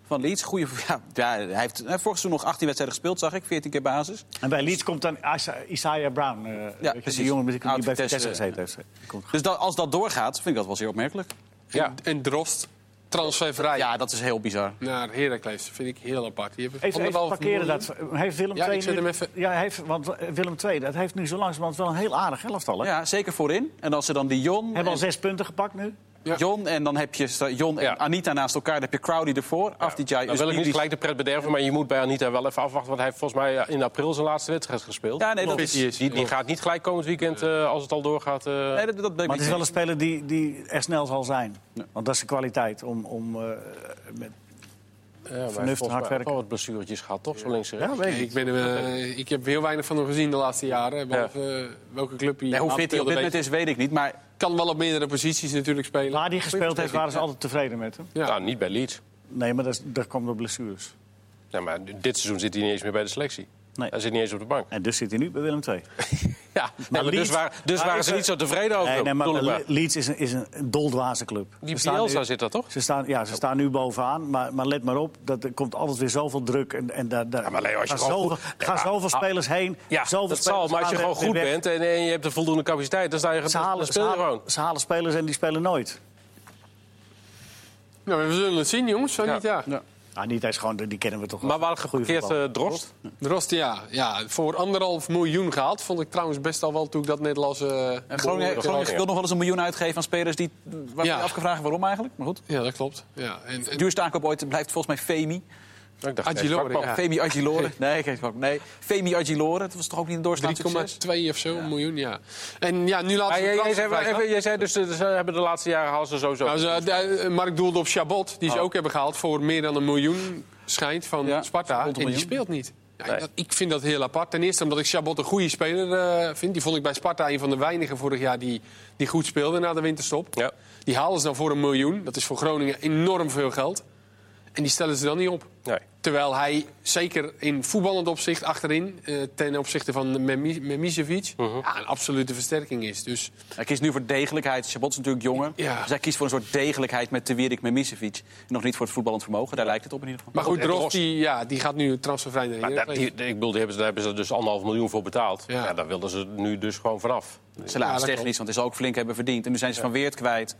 S2: van Leeds. Goeie, ja, ja, hij heeft hij heeft vorig seizoen nog 18 wedstrijden gespeeld, zag ik. 14 keer basis.
S3: En bij Leeds komt dan Isa- Isaiah Brown. eh, weet je,
S2: precies.
S3: Die jongen die bij
S2: Oud
S3: Vitesse,
S2: Vitesse,
S3: gezeten heeft. Die komt-
S2: Dus dat, als dat doorgaat, vind ik dat wel zeer opmerkelijk.
S4: En, en Drost, transfervrij
S2: Ja, dat is heel bizar.
S4: naar Heracles. Vind ik heel apart. Die hebben
S3: Even, even
S4: anderhalf
S3: parkeren
S4: miljoen.
S3: dat. Heeft Willem
S4: Ja,
S3: II
S4: ik zet
S3: nu-
S4: hem even-
S3: Ja, hij heeft, want eh, Willem II, dat heeft nu zo langzamerhand wel een heel aardig elftal. Hè?
S2: Ja, zeker voorin. En als ze dan die Jon en,
S3: Hebben al zes punten gepakt nu.
S4: Ja.
S2: Jon en dan heb je sta- Jon en
S1: Ja.
S2: Anita naast elkaar. Dan heb je Crowdy ervoor. Afdijay,
S1: Dan wil ik niet
S2: Usbili-
S1: Nou, gelijk de pret bederven, maar je moet bij Anita wel even afwachten. Want hij heeft volgens mij eh, in april zijn laatste wedstrijd gespeeld.
S2: Ja, nee, dat is-
S1: Die, die gaat niet gelijk komend weekend, eh, als het al doorgaat. eh,
S2: Nee, dat, dat ben ik
S3: Maar het
S2: niet
S3: is wel een
S2: eens.
S3: speler die, die er snel zal zijn. Want dat is de kwaliteit om... om eh, met...
S1: ja, maar hij heeft
S3: hard
S1: volgens mij ook
S3: werken.
S1: wel wat blessuretjes gehad, toch? Zo links en rechts.
S3: Ja, weet
S4: Nee,
S3: ik.
S4: ik, ben, hem, eh, ik heb heel weinig van hem gezien de laatste jaren. Behalve eh, welke club hij
S2: Nee, hoe fit hij op
S4: aanspeelde,
S2: dit
S4: weet
S2: moment
S4: ik.
S2: is, weet ik niet. Maar eh,
S4: Kan wel op meerdere posities natuurlijk spelen.
S3: Waar die gespeeld heeft, waren ze altijd tevreden met hem.
S4: Ja.
S1: Nou, niet bij Leeds.
S3: Nee, maar dat, is- dat kwam door blessures.
S1: Ja, maar dit seizoen zit hij niet eens meer bij de selectie.
S3: Nee.
S1: Hij zit niet eens op de bank.
S3: En dus zit hij nu bij Willem II.
S1: Ja, nee, maar
S3: Leeds-
S1: dus waren, dus
S3: maar
S1: waren
S3: ik-
S1: ze niet zo tevreden over.
S3: Nee, nee, maar
S1: Doelman.
S3: Le- Leeds is een, is een doldwaze club.
S1: die
S3: Ze staan
S1: Bielsa
S3: nu-
S1: zit daar toch?
S3: Ze staan, ja, ze staan nu bovenaan, maar, maar let maar op, dat, er komt altijd weer zoveel druk. En, en daar, daar
S1: maar Leo, als je
S3: gaan
S1: gewoon
S3: zoveel,
S1: goed- Nee,
S3: gaan
S1: maar-
S3: zoveel spelers heen.
S1: Ja,
S3: zoveel
S1: dat zal.
S3: spelers
S1: Maar als je
S3: gaan
S1: gewoon
S3: weer
S1: goed
S3: weg.
S1: bent en, en je hebt de voldoende capaciteit, dan, sta je,
S3: Ze
S1: dan
S3: halen, ze,
S1: speel je
S3: halen,
S1: gewoon.
S3: ze halen spelers en die spelen nooit.
S4: Nou, we zullen het zien, jongens. Zo
S1: Ja.
S4: niet, ja.
S3: Ah, niet eens gewoon, die kennen we toch wel.
S1: Maar waar
S3: Goeie
S1: geparkeerd
S3: voetbal.
S1: eh, Drost?
S4: Drost, ja. ja. Voor anderhalf miljoen gehaald. Vond ik trouwens best al wel toen ik dat net las. eh,
S2: eh, Groningen,
S1: dat
S2: Groningen
S1: wel,
S2: wil nog wel eens een miljoen uitgeven aan spelers die... Waar
S4: Ja.
S2: je afgevraagd waarom eigenlijk. Maar goed.
S4: Ja, dat klopt. Ja. En, en-
S2: Duurste aankoop ooit blijft volgens mij Femi.
S1: Ik dacht,
S4: Adjilore,
S1: nee, Bakman.
S4: Ja.
S2: Femi Agilore. Nee, geen kwak. Nee. Femi Agilore. Dat was toch ook niet een doorstaand succes?
S4: 3,2 of zo miljoen, ja. En ja, nu laten
S1: Maar
S4: ze
S1: jij, jij,
S4: de transfer
S1: Ah, zei, wel even- jij zei dus, eh, ze hebben de laatste jaren halen ze sowieso.
S4: Nou, ze- de- eh, Mark doelde op Chabot, die ze
S1: Oh.
S4: ook hebben gehaald voor meer dan een miljoen, schijnt, van
S2: Ja,
S4: Sparta.
S2: rond een
S4: En die
S2: miljoen.
S4: speelt niet. Ja,
S1: Nee.
S4: dat- ik vind dat heel apart. Ten eerste omdat ik Chabot een goede speler eh, vind. Die vond ik bij Sparta een van de weinigen vorig jaar die, die goed speelde na de winterstop.
S1: ja.
S4: Die halen ze dan voor een miljoen. Dat is voor Groningen enorm veel geld. En die stellen ze dan niet op.
S1: Nee.
S4: Terwijl hij zeker in voetballend opzicht achterin, eh, ten opzichte van Memi- Memisevic,
S1: Mhm.
S4: ja, een absolute versterking is. Dus
S2: Hij kiest nu voor degelijkheid. Chabot is natuurlijk jonger.
S4: Ja.
S2: Dus hij kiest voor een soort degelijkheid met Tewierik Memisevic. En nog niet voor het voetballend vermogen. Daar lijkt het op in ieder geval.
S4: Maar goed,
S1: Goed, en
S4: Drost
S1: Drost.
S4: die, ja, die gaat nu transfervrij naar
S1: Maar dat,
S4: Heracles.
S1: die, ik bedoel, die hebben ze, daar hebben ze dus anderhalf miljoen voor betaald.
S4: Ja.
S1: Ja. daar wilden ze nu dus gewoon vanaf.
S2: Salaris
S4: Ja, dat
S2: technisch,
S4: klopt.
S2: want hij zal ook flink hebben verdiend. En nu zijn ze Van Weert kwijt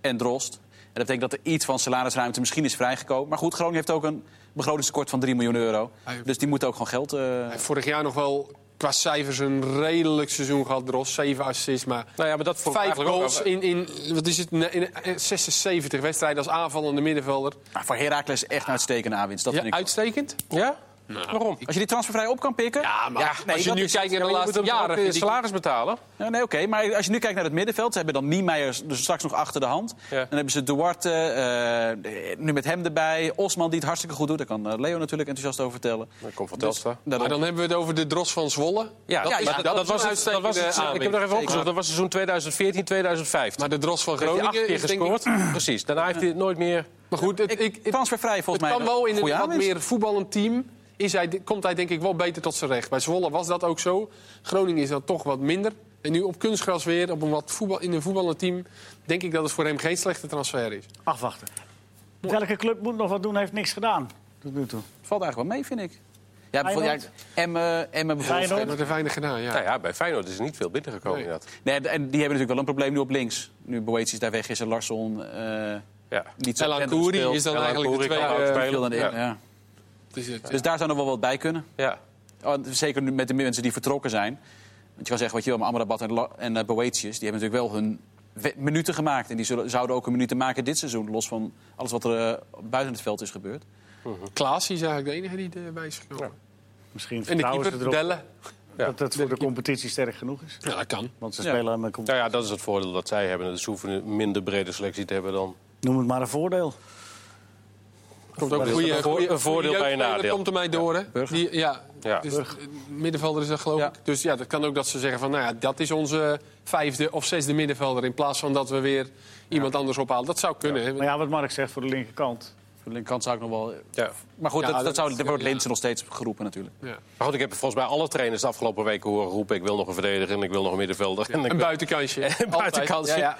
S2: en Drost. En dat betekent dat er iets van salarisruimte misschien is vrijgekomen. Maar goed, Groningen heeft ook een begrotingstekort van 3 miljoen euro.
S4: Hij-
S2: Dus die moeten ook gewoon geld... eh,
S4: Hij heeft vorig jaar nog wel qua cijfers een redelijk seizoen gehad, Drost. Zeven assists, maar
S1: Nou ja, maar dat vond ik
S4: vijf
S1: eigenlijk ook
S4: goals
S1: wel-
S4: in, in, wat is het, in eh, 76 wedstrijden als aanvallende middenvelder.
S2: maar voor Heracles echt een uitstekende aanwinst. Dat
S4: Ja,
S2: vind ik wel.
S4: uitstekend.
S1: Ja? Waarom?
S2: Als je die transfervrij op kan pikken...
S4: Ja, maar
S2: nee,
S4: als je
S2: dat
S4: nu
S2: is-
S4: kijkt naar de
S1: Ja, maar je moet
S4: laatste
S1: hem
S4: jaren...
S1: ook weer
S4: vind ik-
S1: salaris betalen.
S2: Ja, nee, oké. Maar als je nu kijkt naar het middenveld, ze hebben dan Niemeyer dus straks nog achter de hand.
S1: Ja.
S2: Dan hebben ze Duarte, eh, nu met hem erbij. Osman die het hartstikke goed doet. Daar kan eh, Leo natuurlijk enthousiast over vertellen. Dus, nou,
S1: Dat komt van Telstra.
S4: Maar
S2: Daarom-
S4: dan hebben we het over de Drost van Zwolle.
S1: Dus- Ja,
S4: dat,
S1: ja,
S4: is-
S1: maar
S4: dat,
S1: dat,
S4: is
S1: was
S4: een
S1: het. Dat was
S4: uitstekende
S1: het ik heb
S4: aanwinst.
S1: nog even opgezocht.
S4: Zeker.
S1: Dat was seizoen 2014, 2015.
S4: Maar de Drost van
S1: heeft hij acht
S4: Groningen
S1: keer
S4: is denk ik-
S1: gescoord. Precies. Daarna heeft hij het nooit meer.
S4: Maar goed, het, ik, het-
S2: transfervrij volgens
S4: het
S2: mij
S4: kan wel in een
S2: goede
S4: wat
S2: aanwinst.
S4: meer voetballend team. Is hij, komt hij denk ik wel beter tot zijn recht. Bij Zwolle was dat ook zo. Groningen is dat toch wat minder. En nu op kunstgras weer, op een wat voetbal, in een voetballend team... denk ik dat het voor hem geen slechte transfer
S1: eh,
S4: is.
S3: Afwachten. Welke club moet nog wat doen, heeft niks gedaan. Tot nu toe.
S2: Valt eigenlijk wel mee, vind ik. Ja, bijvoorbeeld, ja, Emmen, Emmen bijvoorbeeld.
S3: Feyenoord.
S4: Maar er weinig gedaan, ja.
S1: Nou ja, bij Feyenoord is er niet veel binnengekomen.
S4: Nee.
S1: inderdaad.
S2: Nee, en die hebben natuurlijk wel een probleem nu op links. Nu Boetius daar weg is en Larsson eh,
S1: Ja.
S2: niet zo
S4: Elan
S2: prettig
S4: Kouri
S2: speelt.
S4: is dan
S1: Elan
S4: eigenlijk de
S1: Kouri kan
S4: tweede...
S1: ook
S4: eh,
S1: spelen.
S2: Veel dan de-
S1: Ja.
S2: ja.
S4: dus het-
S2: Dus daar zou nog wel wat bij kunnen.
S1: Ja.
S2: Oh, en zeker nu met de mensen die vertrokken zijn. Want je kan zeggen wat je wil, maar Amrabat en, La- en eh, Boetius... die hebben natuurlijk wel hun we- minuten gemaakt. En die zullen, zouden ook hun minuten maken dit seizoen. Los van alles wat er eh, buiten het veld is gebeurd.
S4: Klaas is eigenlijk de enige die erbij is gekomen.
S3: Misschien
S4: En de
S3: vertrouwen ze
S4: keeper,
S3: erop
S4: Delle.
S3: dat het voor de competitie sterk genoeg is.
S4: Ja, dat kan.
S3: Want ze
S2: Ja.
S3: spelen met competitie.
S1: Nou ja, dat is het voordeel dat zij hebben. Ze hoeven een minder brede selectie te hebben dan.
S3: Noem het maar een voordeel.
S4: Komt ook
S1: is
S4: goeie-
S1: dat een voor-
S4: goeie-
S1: een voordeel
S4: goeie
S1: bij een
S4: jeugdspeler
S1: nadeel?
S4: komt er mij door, hè? Die, ja,
S1: Ja.
S4: Dus, eh, middenvelder is dat, geloof
S2: Ja.
S4: ik. Dus ja, dat kan ook dat ze zeggen van... nou ja, dat is onze vijfde of zesde middenvelder... in plaats van dat we weer iemand anders ophalen. Dat zou kunnen, hè?
S3: Maar ja, wat Mark zegt voor de linkerkant.
S2: de linkerkant zou ik nog wel...
S1: Ja.
S2: Maar goed,
S4: Ja,
S2: dat, dat,
S4: dat-
S2: zou, daar wordt
S4: ja.
S2: Linsen nog steeds geroepen natuurlijk.
S4: Ja.
S1: Maar goed, ik heb volgens mij alle trainers de afgelopen weken horen roepen... ik wil nog een verdediger en ik wil nog een middenvelder. En ik
S4: Een
S1: wil-
S4: buitenkansje.
S1: een
S4: Altijd.
S1: buitenkansje.
S4: Ja, ja.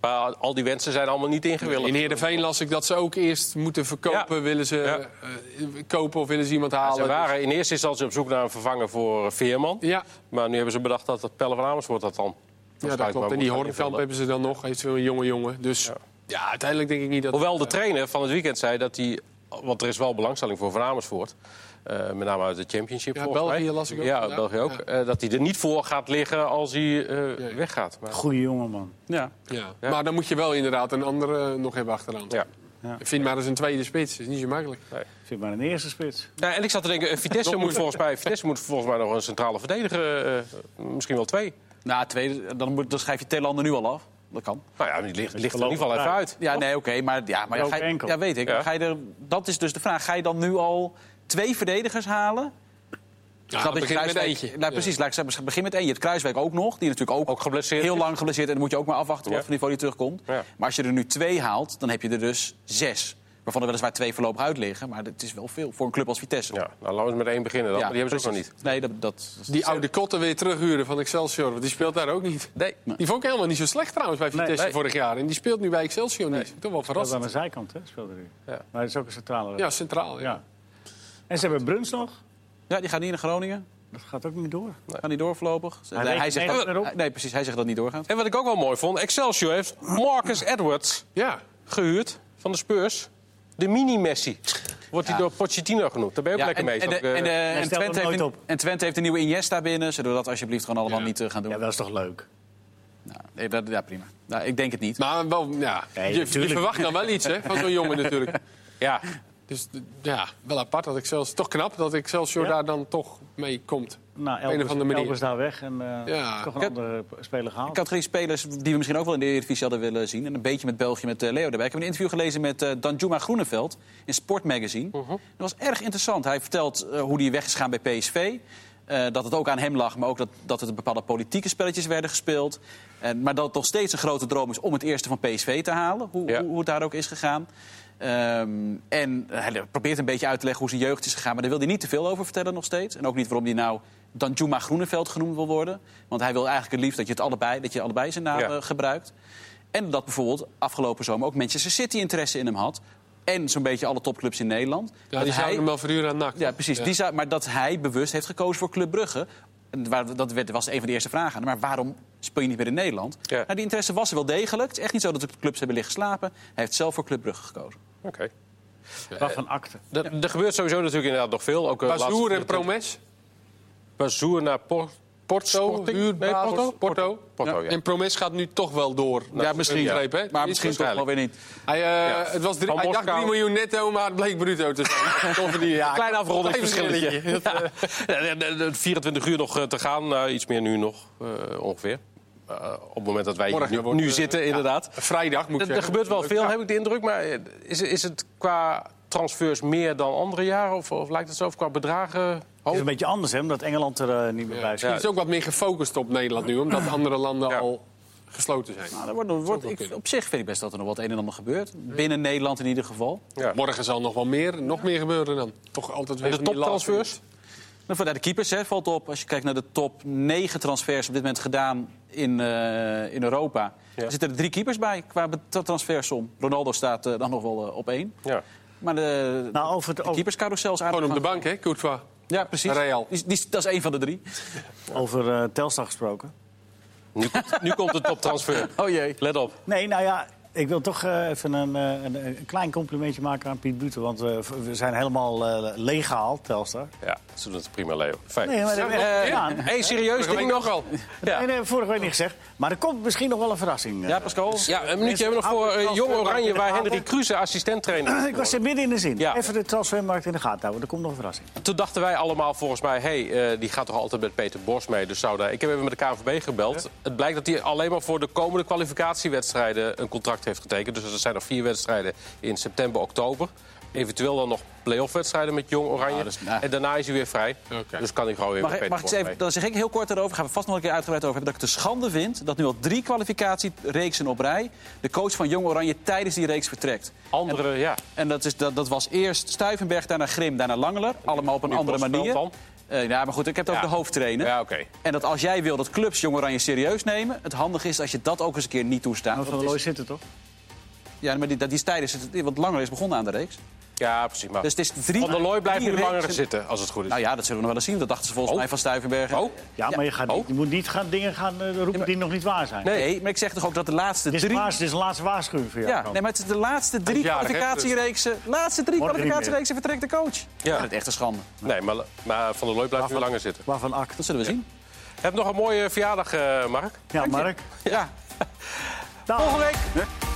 S1: Maar al die wensen zijn allemaal niet ingewilligd.
S4: In Heerenveen las ik dat ze ook eerst moeten verkopen.
S1: Ja.
S4: Willen ze
S1: Ja.
S4: eh, kopen of willen ze iemand halen?
S1: Ze waren in eerste instantie op zoek naar een vervanger voor eh, Veerman.
S4: dus- Ja.
S1: Maar nu hebben ze bedacht dat het Pelle van Amersfoort dat dan.
S4: Ja, dat klopt. En die Hornkamp
S1: Hornkamp.
S4: hebben ze dan nog. Eventueel een jonge jongen. Dus ja. uiteindelijk denk ik niet dat...
S1: Hoewel de trainer van het weekend zei dat hij... Want er is wel belangstelling voor Van Amersfoort. eh, met name uit de championship
S4: Ja,
S1: volgens mij.
S4: België las ik ook
S1: Ja,
S4: vandaag.
S1: België ook.
S4: Ja.
S1: Eh, dat hij er niet voor gaat liggen als hij eh,
S4: ja.
S1: weggaat. Maar,
S3: Goeie jongen, man.
S2: Ja.
S4: Ja. Maar dan moet je wel inderdaad een andere nog hebben achteraan.
S1: ja.
S4: Vind maar eens een tweede spits. is niet zo makkelijk.
S3: Zit maar in de eerste spits.
S1: Ja, en ik zat te denken, eh, Vitesse, moet volgens mij, Vitesse moet volgens mij nog een centrale verdediger. eh, eh, misschien wel twee.
S2: Nou, tweede, dan, moet, dan schrijf je Telander nu al af. Dat kan.
S1: Nou ja, die ligt, ligt er in ieder geval even
S3: Ja.
S1: uit.
S2: Ja, nee, oké. maar ja, maar
S3: Welke
S2: ga je-
S3: enkel?
S2: ja, weet ik.
S1: Ja.
S2: Maar Ga je er, dat is dus de vraag. Ga je dan nu al twee verdedigers halen?
S4: Ja,
S2: Snap
S4: dan
S2: ik,
S4: begin met
S2: Kruiswijk-
S4: eentje.
S2: Nou, precies. Laat ik zeggen, begin met één. Je hebt Kruiswijk ook nog. Die natuurlijk ook,
S1: Ook geblesseerd
S2: heel
S1: is.
S2: lang geblesseerd. En dan moet je ook maar afwachten
S1: Ja.
S2: wat voor niveau die terugkomt.
S1: Ja.
S2: Maar als je er nu twee haalt, dan heb je er dus zes. Waarvan er weliswaar twee voorlopig uit liggen. Maar dat is wel veel voor een club als Vitesse.
S1: Ja, nou, laten we met één beginnen dan.
S2: Ja,
S1: maar die hebben ze ook nog
S2: precies.
S1: niet.
S2: Nee, dat, dat,
S4: Die oude kotten weer terughuren van Excelsior. Want die speelt daar ook niet.
S1: Nee.
S4: Die vond ik helemaal niet zo slecht trouwens bij Vitesse
S1: nee.
S4: vorig jaar. En die speelt nu bij Excelsior niet.
S3: Dat
S4: Toch wel
S3: was aan
S4: verrassend.
S3: de zijkant, hè, speelde hij.
S1: Ja.
S3: Maar dat is ook een centrale.
S4: Ja, centraal. Ja.
S3: Ja. En ze hebben Bruns nog.
S2: ja, die gaat niet naar Groningen.
S3: Dat gaat ook niet door.
S2: Gaan niet door voorlopig. Nee,
S3: rekent
S2: zegt
S3: nergens meer
S2: dat,
S3: op.
S2: nee, precies. Hij zegt dat het niet doorgaat.
S1: En wat ik ook wel mooi vond, Excelsior heeft Marcus Edwards
S4: ja.
S1: gehuurd van de Spurs. De mini-Messi. Wordt hij
S2: Ja.
S1: door Pochettino genoemd. Daar ben je ook
S2: Ja,
S1: lekker
S2: en,
S1: mee.
S2: en,
S1: Is
S2: de-
S1: ook, eh,
S2: en, de- en
S3: stelt hem
S2: Twente heeft
S3: nooit
S2: een,
S3: op.
S2: en Twente heeft een nieuwe Iniesta binnen. Zullen we dat alsjeblieft gewoon allemaal niet eh, gaan doen?
S3: Ja, dat is toch leuk?
S2: Nou, nee, dat, ja, prima. Nou, ik denk het niet.
S4: Maar wel, ja.
S3: Nee,
S4: je, je
S3: natuurlijk.
S4: verwacht dan wel iets hè, van zo'n jongen natuurlijk.
S1: ja.
S4: Dus d- ja, wel apart dat ik zelfs toch knap dat ik zelfs
S3: Ja.
S4: daar dan toch mee komt.
S3: Nou,
S4: een
S3: Elbers,
S4: of andere manier.
S3: Elbers daar weg en eh,
S4: Ja.
S3: toch een
S2: Ik-
S3: andere speler gehaald.
S2: Categorie spelers die we misschien ook wel in de Eredivisie hadden willen zien. En een beetje met België, met eh, Leo erbij. Ik heb een interview gelezen met eh, Danjuma Groeneveld in Sport Magazine. Dat was erg interessant. Hij vertelt eh, hoe hij weg is gegaan bij PSV. Eh, dat het ook aan hem lag, maar ook dat, dat er bepaalde politieke spelletjes werden gespeeld. En maar dat het nog steeds een grote droom is om het eerste van PSV te halen. Hoe,
S1: Ja.
S2: hoe, hoe het daar ook is gegaan. Ehm, en hij probeert een beetje uit te leggen hoe zijn jeugd is gegaan. Maar daar wil hij niet te veel over vertellen nog steeds. En ook niet waarom hij nou Danjuma Groeneveld genoemd wil worden. Want hij wil eigenlijk het liefst dat je, het allebei, dat je allebei zijn naam
S1: Ja.
S2: eh, gebruikt. En dat bijvoorbeeld afgelopen zomer ook Manchester City interesse in hem had. En zo'n beetje alle topclubs in Nederland.
S4: Ja,
S2: Dat
S4: die zou
S2: hij-
S4: hem wel verhuren aan NAC.
S2: ja, precies. Die zou- maar dat hij bewust heeft gekozen voor Club Brugge. En waar- Dat werd- was een van de eerste vragen. aan hem. Maar waarom speel je niet meer in Nederland?
S1: Ja.
S2: Nou, die interesse was er wel degelijk. Het is echt niet zo dat de clubs hebben liggen slapen. Hij heeft zelf voor Club Brugge gekozen.
S1: Oké.
S3: Waarvan akte.
S1: Er- Er gebeurt sowieso natuurlijk inderdaad nog veel. Ook, eh, laatst-
S4: Bazoer en Promes.
S1: Bazoer naar Por-
S4: Porto,
S1: Sporting?
S4: huurbaas.
S1: Nee, Porto?
S4: Porto.
S1: Porto, Oh, ja.
S4: En Promes gaat nu toch wel door.
S2: Nou, ja, misschien.
S4: begreep, hè?
S2: Maar
S4: Is
S2: misschien toch wel
S1: waarschijnlijk.
S2: weer niet.
S4: Hij, eh,
S1: Ja.
S4: het was drie,
S1: Van
S4: hij dacht
S1: Moskou.
S4: 3 miljoen netto, maar het bleek bruto te zijn. Toch die, ja,
S1: Klein afrondingsverschilletje.
S4: verschilletje.
S1: Ja. En, en, en 24 uur nog eh, te gaan. Nou, iets meer nu nog, eh, ongeveer. Eh, op het moment dat wij hier
S4: Morgen
S1: nu,
S4: wordt,
S1: nu
S4: eh,
S1: zitten, inderdaad.
S4: Vrijdag moet ik
S1: Er, er
S4: zeggen.
S1: gebeurt wel veel, heb ik de indruk. Maar eh, is, is het qua transfers meer dan andere jaren? Of, of lijkt het zo? Of qua bedragen? Oh, hoog?
S3: Het
S4: Oh.
S3: is een beetje anders, hè, omdat Engeland er eh, niet meer bij is.
S4: Het is ook wat meer gefocust op Nederland nu, omdat andere landen
S1: Ja.
S4: al gesloten zijn.
S2: Nou, er wordt, er wordt, ik- op zich vind ik best dat er nog wat een en ander gebeurt. Binnen Nederland in ieder geval.
S1: Ja.
S4: Morgen zal nog wel meer, nog meer gebeuren dan. Toch altijd weer
S1: En de
S4: van die
S1: toptransfers?
S4: laatste-
S2: Dan voor- nou, de keepers hè, valt op. Als je kijkt naar de top 9 transfers op dit moment gedaan in, eh, in Europa.
S1: Ja.
S2: Er zitten er drie keepers bij qua bet- transfersom. Ronaldo staat eh, dan nog wel eh, op één.
S1: Ja.
S2: Maar de,
S3: Nou, over het,
S2: de
S3: over,
S2: keeperscarousel is
S4: Gewoon
S2: aardig.
S4: op de bank, hè, Courtois.
S2: Ja, precies.
S4: Real.
S2: Die, die- dat is één van de drie.
S3: over eh, Telstar gesproken.
S1: Nu, komt- nu komt de toptransfer.
S2: Oh jee.
S1: Let op.
S3: Nee, nou ja, ik wil toch eh, even een, eh, een, een klein complimentje maken aan Piet Buten. Want eh, we zijn helemaal eh, leeggehaald, Telstar.
S1: Ja, ze doen het prima, Leo. Fijn.
S3: Nee, maar dat hebben we
S2: eh,
S3: echt gedaan.
S1: Hé, serieus,
S4: Vorige
S1: ding
S4: week
S1: nog?
S4: ook al.
S3: Nee, nee, vorige week niet gezegd. Maar er komt misschien nog wel een verrassing. eh.
S2: Ja, Pascal.
S1: Ja, een minuutje hebben we nog voor eh, Jong Oranje... waar Henry Kruse assistent trainer
S3: Ik was er midden in de zin.
S1: Ja.
S3: Even de transfermarkt in de gaten houden. Er komt nog een verrassing.
S1: Toen dachten wij allemaal volgens mij, hé, hey, eh, die gaat toch altijd met Peter Bos mee. Dus zou daar... Ik heb even met de KNVB gebeld. Het blijkt dat hij alleen maar voor de komende kwalificatiewedstrijden een contract heeft getekend. Dus er zijn nog vier wedstrijden in september, oktober. Eventueel dan nog play-off wedstrijden met Jong Oranje.
S2: Ja, dat is- nou.
S1: En daarna is hij weer vrij.
S4: Oké.
S1: Dus kan hij gewoon weer
S2: Mag,
S1: met
S2: ik-
S1: Peter
S2: mag ik eens
S1: Bos
S2: even, dan zeg ik heel kort daarover. Gaan we vast nog een keer uitgebreid over hebben. Dat ik het te schande vind dat nu al drie kwalificatiereeksen op rij. de coach van Jong Oranje tijdens die reeks vertrekt.
S1: mee. Andere, ja.
S2: En dat, is, dat, dat was eerst Stuivenberg, daarna Grim, daarna Langeler. Allemaal op een
S1: die
S2: andere
S1: Bosveld
S2: manier.
S1: dan?
S2: Eh, ja, maar goed, ik heb het
S1: Ja.
S2: over de hoofdtrainer.
S1: Ja, oké.
S2: En dat als jij wil dat clubs Jong Oranje serieus nemen... het handig is als je dat ook eens een keer niet toestaat.
S3: Dat
S2: Want
S3: van
S2: het
S3: Looy
S2: is-
S3: zitten, toch?
S2: ja, maar die, dat die is tijdens... Het, want langer is begonnen aan de reeks.
S1: Ja, precies. Maar
S2: Dus het is drie...
S1: Van der Looy blijft
S2: drie
S1: nu langer
S2: reeksen-
S1: zitten, als het goed is.
S2: Nou ja, dat zullen we nog wel eens zien. Dat dachten ze volgens
S1: Oh.
S2: mij van Stuivenberg.
S1: Oh,
S3: Ja, maar je, gaat niet-
S1: Oh.
S3: je moet niet gaan, dingen gaan eh, roepen die nog niet waar zijn.
S2: Nee. maar ik zeg toch ook dat de laatste
S3: Dit, is
S2: drie...
S3: een waars- dit is een laatste waarschuwing voor jou.
S2: Ja,
S1: Oh.
S2: nee, maar het is de laatste drie
S4: Jarig, hè,
S1: dus-
S2: kwalificatiereeksen... laatste drie
S3: Morgen niet meer.
S2: kwalificatiereeksen vertrekt de coach. Ja. Dat is echt een schande.
S1: nee, maar, maar Van der Looy blijft nu langer zitten.
S3: Waarvan Ak.
S2: Dat zullen we zien.
S1: Heb nog een mooie verjaardag, eh, Mark.
S3: Ja, Mark.
S2: Ja,
S3: Dag.
S1: Volgende week